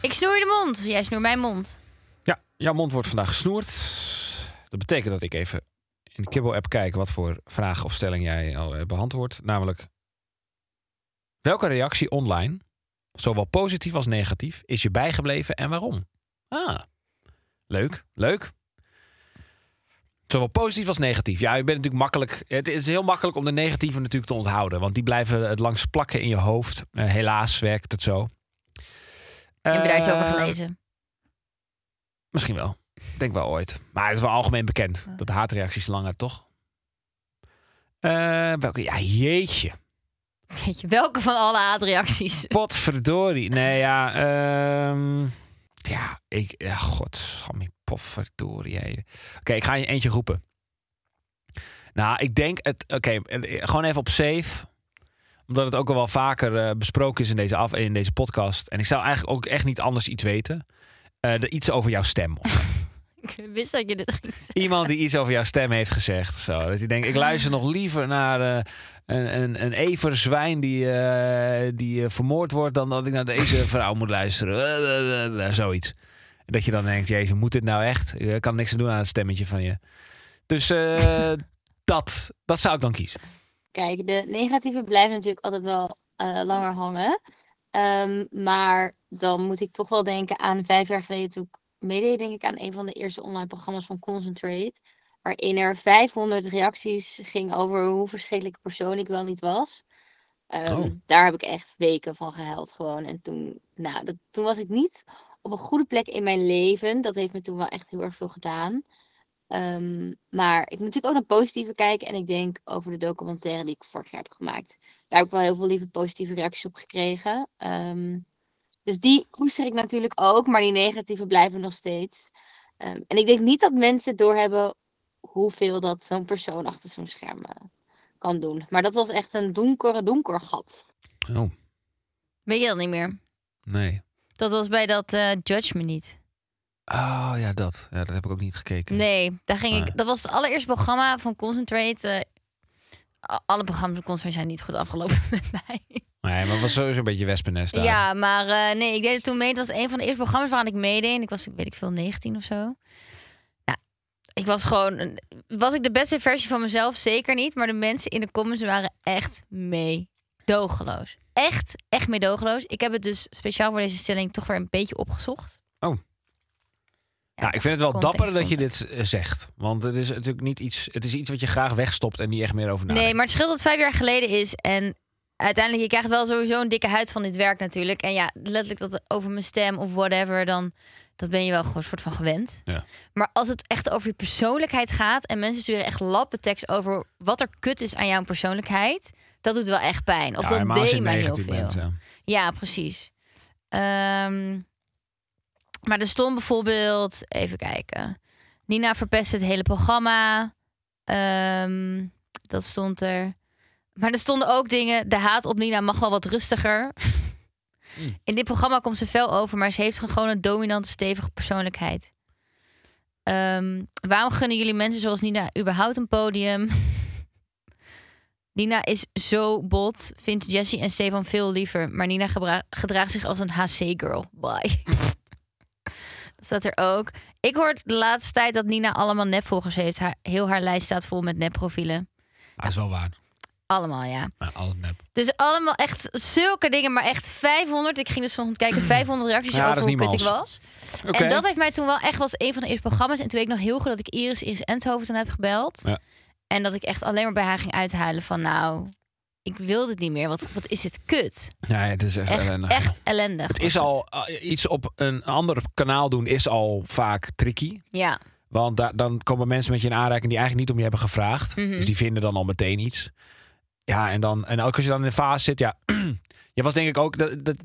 Speaker 3: Ik snoer je de mond. Jij snoert mijn mond.
Speaker 2: Ja, jouw mond wordt vandaag gesnoerd. Dat betekent dat ik even in de Kibbel-app kijk wat voor vraag of stelling jij al eh, beantwoord. Namelijk, welke reactie online, zowel positief als negatief, is je bijgebleven en waarom? Ah, leuk, leuk. Zowel positief als negatief. Ja, je bent natuurlijk makkelijk. Het is heel makkelijk om de negatieve natuurlijk te onthouden. Want die blijven het langs plakken in je hoofd. Eh, helaas werkt het zo.
Speaker 3: Ik heb je daar iets over
Speaker 2: Eh,
Speaker 3: gelezen.
Speaker 2: Misschien wel. Ik Denk wel ooit. Maar het is wel algemeen bekend dat de haatreacties langer, toch? Eh, welke? Ja, jeetje.
Speaker 3: Weet je, welke van alle haatreacties?
Speaker 2: Potverdorie. Nee, ja. ehm, ja, ik... Ja, godsamme, potverdorie. hè. Oké, ik ga je eentje roepen. Nou, ik denk het... Oké, eh, gewoon even op safe. Omdat het ook al wel vaker eh, besproken is in deze, af, in deze podcast. En ik zou eigenlijk ook echt niet anders iets weten. Eh, de- iets over jouw stem
Speaker 3: Ik wist dat je dit ging zeggen.
Speaker 2: iemand die iets over jouw stem heeft gezegd of zo. Dat je denkt, ik luister nog liever naar eh, een, een, een everzwijn die, eh, die eh, vermoord wordt... dan dat ik naar deze vrouw moet luisteren. Blablabla, Zoiets. Dat je dan denkt, jezus, moet dit nou echt? Ik kan niks aan doen aan het stemmetje van je. Dus eh, dat, dat zou ik dan kiezen.
Speaker 7: Kijk, de negatieve blijven natuurlijk altijd wel eh, langer hangen. Ehm, maar dan moet ik toch wel denken aan vijf jaar geleden toen ik meedeed, denk ik, aan een van de eerste online programma's van Concentrate. Waarin er 500 reacties ging over hoe verschrikkelijke persoon ik wel niet was. Ehm,
Speaker 2: Oh.
Speaker 7: Daar heb ik echt weken van gehuild gewoon. En toen, nou, dat, toen was ik niet op een goede plek in mijn leven. Dat heeft me toen wel echt heel erg veel gedaan. Ehm, maar ik moet natuurlijk ook naar positieve kijken. En ik denk over de documentaire die ik vorig jaar heb gemaakt. Daar heb ik wel heel veel lieve positieve reacties op gekregen. Ehm, dus die koester ik natuurlijk ook. Maar die negatieve blijven nog steeds. Ehm, en ik denk niet dat mensen doorhebben hoeveel dat zo'n persoon achter zo'n scherm eh, kan doen. Maar dat was echt een donkere, donker gat.
Speaker 2: Oh,
Speaker 3: Weet je dat niet meer?
Speaker 2: nee.
Speaker 3: Dat was bij dat eh Judge Me Niet.
Speaker 2: Oh, ja, dat. Ja, dat heb ik ook niet gekeken.
Speaker 3: Nee, daar ging
Speaker 2: Ah.
Speaker 3: ik, dat was het allereerste programma van Concentrate. eh, a- alle programma's van Concentrate zijn niet goed afgelopen met mij.
Speaker 2: Nee, maar het was sowieso een beetje wespennest daar.
Speaker 3: Ja, maar eh, nee, ik deed het toen mee. Het was een van de eerste programma's waaraan ik meedeed. En ik was, weet ik veel, 19 of zo. Ja, ik was gewoon... een- Was ik de beste versie van mezelf? Zeker niet. Maar de mensen in de comments waren echt meedogenloos. Echt, echt meedogenloos. Ik heb het dus speciaal voor deze stelling toch weer een beetje opgezocht.
Speaker 2: Oh.
Speaker 3: Ja,
Speaker 2: Nou, ik vind het wel
Speaker 3: context,
Speaker 2: dapper dat je
Speaker 3: context.
Speaker 2: dit eh, zegt. Want het is natuurlijk niet iets. Het is iets wat je graag wegstopt en niet echt meer over nadenkt.
Speaker 3: Nee, maar het scheelt dat het vijf jaar geleden is. En uiteindelijk, je krijgt wel sowieso een dikke huid van dit werk natuurlijk. En ja, letterlijk dat over mijn stem of whatever, dan dat ben je wel gewoon soort van gewend.
Speaker 2: Ja.
Speaker 3: Maar als het echt over je persoonlijkheid gaat en mensen sturen echt lappen tekst over wat er kut is aan jouw persoonlijkheid, dat doet wel echt pijn. Of
Speaker 2: ja,
Speaker 3: dat
Speaker 2: helemaal als je
Speaker 3: deed mij heel
Speaker 2: negatief
Speaker 3: veel.
Speaker 2: bent. Ja.
Speaker 3: Ja, precies. Ehm, maar er stond bijvoorbeeld, even kijken. Nina verpest het hele programma. Ehm, dat stond er. Maar er stonden ook dingen. De haat op Nina mag wel wat rustiger. In dit programma komt ze fel over, maar ze heeft gewoon een dominante, stevige persoonlijkheid. Ehm, waarom gunnen jullie mensen zoals Nina überhaupt een podium? Nina is zo bot, vindt Jessie en Stefan veel liever. Maar Nina gebra- gedraagt zich als een HC-girl. Bye. dat staat er ook. Ik hoor de laatste tijd dat Nina allemaal nepvolgers heeft. Haar, heel haar lijst staat vol met nepprofielen.
Speaker 2: Maar dat is wel waar.
Speaker 3: Allemaal, ja.
Speaker 2: Ja, alles nep.
Speaker 3: Dus allemaal echt zulke dingen, maar echt 500. Ik ging dus vanochtend kijken, 500 reacties
Speaker 2: Ja, dat
Speaker 3: over
Speaker 2: is
Speaker 3: hoe
Speaker 2: niet
Speaker 3: kut ik
Speaker 2: mals.
Speaker 3: was.
Speaker 2: Oké.
Speaker 3: En dat heeft mij toen wel echt was een van de eerste programma's. En toen weet ik nog heel goed dat ik Iris, Iris Endhoven toen heb gebeld.
Speaker 2: Ja.
Speaker 3: En dat ik echt alleen maar bij haar ging uithuilen van nou, ik wil dit niet meer. Wat, wat is dit kut?
Speaker 2: Ja, het is echt,
Speaker 3: Echt,
Speaker 2: ellendig.
Speaker 3: echt ellendig.
Speaker 2: Het is al, eh, iets op een ander kanaal doen is al vaak tricky.
Speaker 3: Ja,
Speaker 2: Want da- dan komen mensen met je in aanraking die eigenlijk niet om je hebben gevraagd.
Speaker 3: Mhm.
Speaker 2: Dus die vinden dan al meteen iets. Ja, en, dan, en ook als je dan in de fase zit, ja. je was denk ik ook, dat, dat,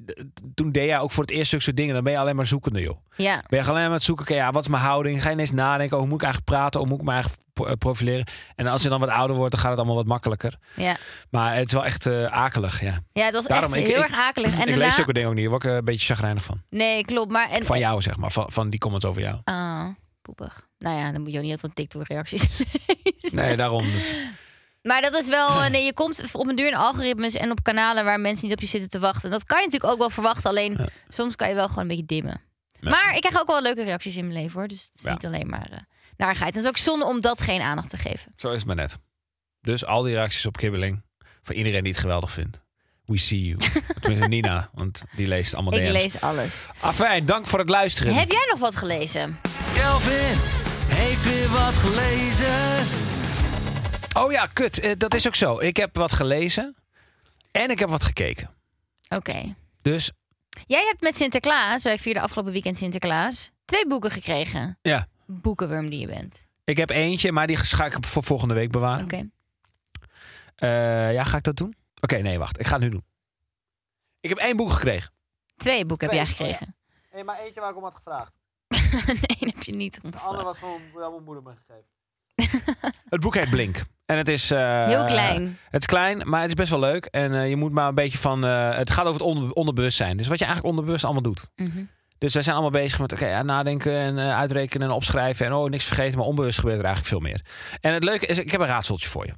Speaker 2: toen deed jij ook voor het eerst zulke soort dingen. Dan ben je alleen maar zoekende, joh.
Speaker 3: ja,
Speaker 2: Ben je alleen maar aan het zoeken, oké, ja, wat is mijn houding? Ga je ineens nadenken, oh, hoe moet ik eigenlijk praten? Hoe moet ik me eigenlijk po- eh, profileren? En als je dan wat ouder wordt, dan gaat het allemaal wat makkelijker.
Speaker 3: ja.
Speaker 2: Maar het is wel echt eh, akelig, ja.
Speaker 3: Ja, het was
Speaker 2: Daarom,
Speaker 3: echt
Speaker 2: ik-
Speaker 3: heel
Speaker 2: ik-
Speaker 3: erg akelig. En
Speaker 2: ik
Speaker 3: daarna...
Speaker 2: lees zulke dingen ook niet, daar word ik eh, een beetje chagrijnig van.
Speaker 3: Nee, klopt. Maar en,
Speaker 2: Van jou, zeg maar. Van, van die comments over jou.
Speaker 3: Ah, poepig. Nou ja, dan moet je ook niet altijd TikTok-reacties lezen.
Speaker 2: Nee, daarom. Dus.
Speaker 3: Maar dat is wel. eh, Nee, je komt op een duur in algoritmes en op kanalen waar mensen niet op je zitten te wachten. En dat kan je natuurlijk ook wel verwachten. Alleen soms kan je wel gewoon een beetje dimmen. Maar ik krijg ook wel leuke reacties in mijn leven hoor. Dus het is
Speaker 2: Ja.
Speaker 3: niet alleen maar eh narigheid. En het is ook zonde om dat geen aandacht te geven.
Speaker 2: Zo is het maar net. Dus al die reacties op kibbeling. Van iedereen die het geweldig vindt. We see you. Tenminste Nina, want die leest allemaal
Speaker 3: Ik
Speaker 2: DM's.
Speaker 3: lees alles.
Speaker 2: Afijn, dank voor het luisteren.
Speaker 3: Heb jij nog wat gelezen?
Speaker 4: Kelvin heeft weer wat gelezen.
Speaker 2: Oh ja, kut. eh, dat is ook zo. Ik heb wat gelezen. En ik heb wat gekeken.
Speaker 3: Oké.
Speaker 2: Dus
Speaker 3: Jij hebt met Sinterklaas, wij vierden afgelopen weekend Sinterklaas, twee boeken gekregen.
Speaker 2: ja,
Speaker 3: Boekenworm die je bent.
Speaker 2: ik heb eentje, maar die ga ik voor volgende week bewaren.
Speaker 3: Oké.
Speaker 2: Eh, ja, ga ik dat doen? Oké, nee, wacht. Ik ga het nu doen. Ik heb één boek gekregen.
Speaker 3: Twee boeken
Speaker 2: Twee,
Speaker 3: heb jij gekregen.
Speaker 2: Nee, maar eentje waar ik om had gevraagd.
Speaker 3: nee, heb je niet omgevraagd.
Speaker 2: was gewoon mijn moeder me gegeven. het boek heet Blink. En het is... eh,
Speaker 3: Heel klein.
Speaker 2: Het is klein, maar het is best wel leuk. En eh, je moet maar een beetje van... eh, het gaat over het onder, onderbewustzijn. Dus wat je eigenlijk onderbewust allemaal doet.
Speaker 3: Mhm.
Speaker 2: Dus wij zijn allemaal bezig met oké, ja, nadenken en eh, uitrekenen en opschrijven. En oh, niks vergeten, maar onbewust gebeurt er eigenlijk veel meer. En het leuke is, ik heb een raadseltje voor je.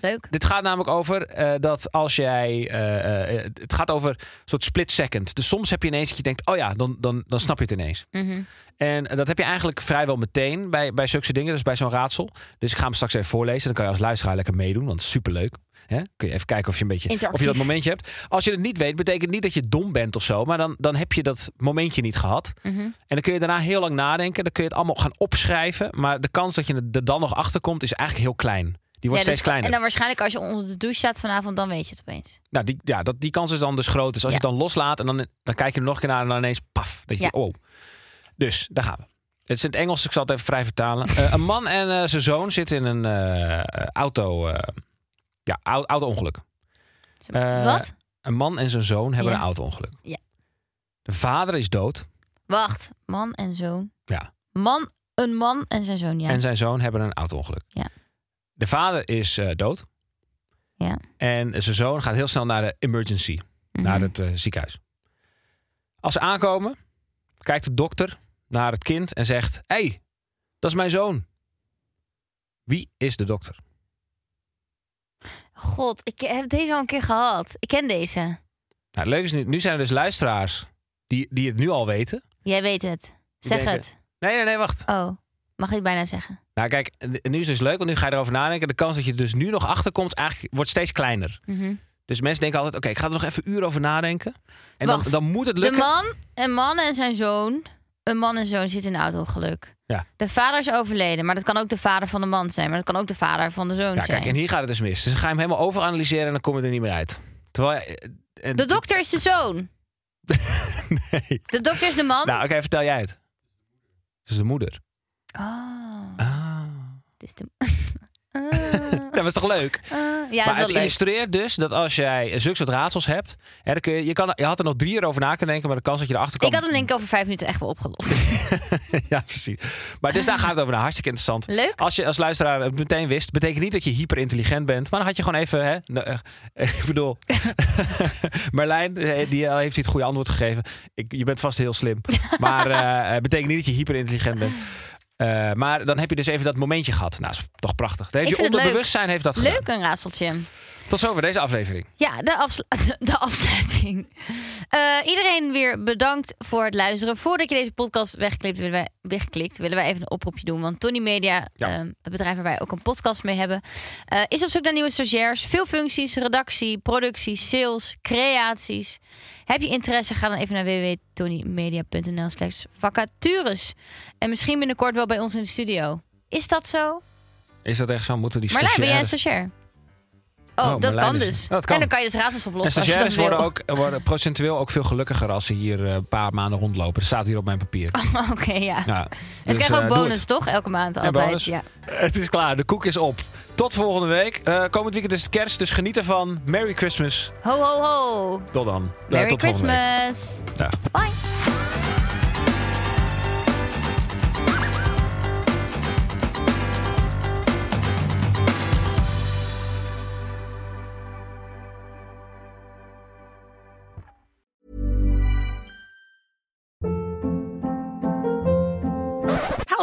Speaker 3: Leuk.
Speaker 2: Dit gaat namelijk over eh, dat als jij... eh, eh, het gaat over een soort split second. Dus soms heb je ineens dat je denkt, oh ja, dan, dan, dan snap je het ineens.
Speaker 3: Mhm.
Speaker 2: En dat heb je eigenlijk vrijwel meteen bij, bij zulke dingen, dus bij zo'n raadsel. Dus ik ga hem straks even voorlezen. Dan kan je als luisteraar lekker meedoen, want het is superleuk. Hè? Kun je even kijken of je, een beetje, of je
Speaker 3: Interactief.
Speaker 2: dat momentje hebt. Als je het niet weet, betekent niet dat je dom bent of zo. Maar dan, dan heb je dat momentje niet gehad.
Speaker 3: Mhm.
Speaker 2: En dan kun je daarna heel lang nadenken. Dan kun je het allemaal gaan opschrijven. Maar de kans dat je er dan nog achter komt, is eigenlijk heel klein. Die wordt
Speaker 3: Ja,
Speaker 2: steeds
Speaker 3: dat is-
Speaker 2: kleiner.
Speaker 3: En dan waarschijnlijk als je onder de douche staat vanavond, dan weet je het opeens.
Speaker 2: Nou, die, ja, dat, die kans is dan dus groot. Dus als je
Speaker 3: Ja.
Speaker 2: het dan loslaat en dan, dan kijk je er nog een keer naar en dan ineens paf. Dat je,
Speaker 3: Ja.
Speaker 2: wow. Dus, daar gaan we. Het is in het Engels, dus ik zal het even vrij vertalen. Eh, een man en eh, zijn zoon zitten in een eh, auto, eh, ja, au- auto-ongeluk. Eh,
Speaker 3: Wat?
Speaker 2: Een man en zijn zoon hebben
Speaker 3: Ja.
Speaker 2: een auto-ongeluk.
Speaker 3: Ja.
Speaker 2: De vader is dood
Speaker 3: Wacht, man en zoon.
Speaker 2: Ja.
Speaker 3: Man, een man en zijn zoon, ja.
Speaker 2: en zijn zoon hebben een auto-ongeluk.
Speaker 3: Ja.
Speaker 2: De vader is eh, dood
Speaker 3: ja.
Speaker 2: en zijn zoon gaat heel snel naar de emergency.
Speaker 3: Mhm.
Speaker 2: naar het eh, ziekenhuis. Als ze aankomen, kijkt de dokter naar het kind en zegt: Hé, hey, dat is mijn zoon. Wie is de dokter?
Speaker 3: God, ik heb deze al een keer gehad. Ik ken deze.
Speaker 2: Nou, het leuke is nu, nu zijn er dus luisteraars die, die het nu al weten.
Speaker 3: Jij weet het. Zeg
Speaker 2: denken-
Speaker 3: het.
Speaker 2: Nee, nee, nee, wacht.
Speaker 3: Oh, mag ik het bijna zeggen?
Speaker 2: Nou, kijk, n- nu is het dus leuk, want nu ga je erover nadenken. De kans dat je er dus nu nog achter komt, eigenlijk wordt steeds kleiner.
Speaker 3: Mhm.
Speaker 2: Dus mensen denken altijd: Oké, ik ga er nog even uur over nadenken. En dan,
Speaker 3: Wacht.
Speaker 2: dan moet het
Speaker 3: De
Speaker 2: lukken.
Speaker 3: man, een man en zijn zoon. Een man en zoon zitten in een auto-ongeluk.
Speaker 2: Ja.
Speaker 3: De vader is overleden, maar dat kan ook de vader van de man zijn. Maar dat kan ook de vader van de zoon
Speaker 2: ja,
Speaker 3: zijn.
Speaker 2: kijk, en hier gaat het dus mis. Dus dan ga je hem helemaal overanalyseren en dan kom je er niet meer uit. Terwijl. je- eh, eh,
Speaker 3: De dokter is de zoon.
Speaker 2: nee.
Speaker 3: De dokter is de man.
Speaker 2: Nou, oké, Nou, vertel jij het. Dat is de moeder.
Speaker 3: Oh,
Speaker 2: Ah.
Speaker 3: het is de... Ah,
Speaker 2: Dat was toch leuk?
Speaker 3: ah.
Speaker 2: maar
Speaker 3: ja, dat
Speaker 2: het
Speaker 3: is wel leuk.
Speaker 2: illustreert dus dat als jij zulke soort raadsels hebt... Hè, dan kun je, je, kan, je had er nog drie uur over na kunnen denken... maar de kans dat je erachter kwam...
Speaker 3: Ik had hem denk ik over vijf minuten echt wel opgelost.
Speaker 2: ja, precies. Maar dus daar gaat het over. Nou, hartstikke interessant.
Speaker 3: Leuk.
Speaker 2: Als je als luisteraar het meteen wist... betekent niet dat je hyperintelligent bent... maar dan had je gewoon even... Hè, nou, eh, ik bedoel... Merlijn, eh, die eh, heeft hier het goede antwoord gegeven. Ik, je bent vast heel slim. Maar eh, het betekent niet dat je hyperintelligent bent. Eh, maar dan heb je dus even dat momentje gehad. Nou, is toch prachtig. Dat heeft
Speaker 3: Ik
Speaker 2: je
Speaker 3: vind het leuk.
Speaker 2: onderbewustzijn heeft dat gedaan.
Speaker 3: Leuk een raadseltje.
Speaker 2: Tot zover deze aflevering.
Speaker 3: Ja, de, afslu- de afsluiting. Eh, iedereen weer bedankt voor het luisteren. Voordat je deze podcast wegklikt, willen wij, wegklikt, willen wij even een oproepje doen. Want Tony Media,
Speaker 2: Ja.
Speaker 3: eh, het bedrijf waar wij ook een podcast mee hebben, eh, is op zoek naar nieuwe stagiairs. Veel functies, redactie, productie, sales, creaties. Heb je interesse, ga dan even naar www.tonymedia.nl slash vacatures. En misschien binnenkort wel bij ons in de studio. Is dat zo?
Speaker 2: Is dat echt zo? Moeten die
Speaker 3: Marlijn, ben jij een
Speaker 2: stagiaires...
Speaker 3: stagiair?
Speaker 2: Oh,
Speaker 3: Oh, dat
Speaker 2: Marlijn
Speaker 3: kan
Speaker 2: is-
Speaker 3: dus.
Speaker 2: dat kan.
Speaker 3: En dan kan je dus raadsels
Speaker 2: En
Speaker 3: oplossen. als je dat
Speaker 2: stagiaires worden,
Speaker 3: wil.
Speaker 2: ook, worden procentueel ook veel gelukkiger als ze hier eh, een paar maanden rondlopen. Dat staat hier op mijn papier.
Speaker 3: Oké, ja.
Speaker 2: Ja,
Speaker 3: En
Speaker 2: dus,
Speaker 3: ze krijgen
Speaker 2: eh,
Speaker 3: ook
Speaker 2: doe
Speaker 3: bonus, toch? Elke maand
Speaker 2: En
Speaker 3: altijd.
Speaker 2: bonus.
Speaker 3: Ja.
Speaker 2: Het is klaar, de koek is op. Tot volgende week. Eh, komend weekend is het kerst, dus geniet ervan. Merry Christmas.
Speaker 3: Ho, ho, ho.
Speaker 2: Tot dan. Eh,
Speaker 3: Merry
Speaker 2: tot volgende week.
Speaker 3: Christmas.
Speaker 2: Dag.
Speaker 3: Bye.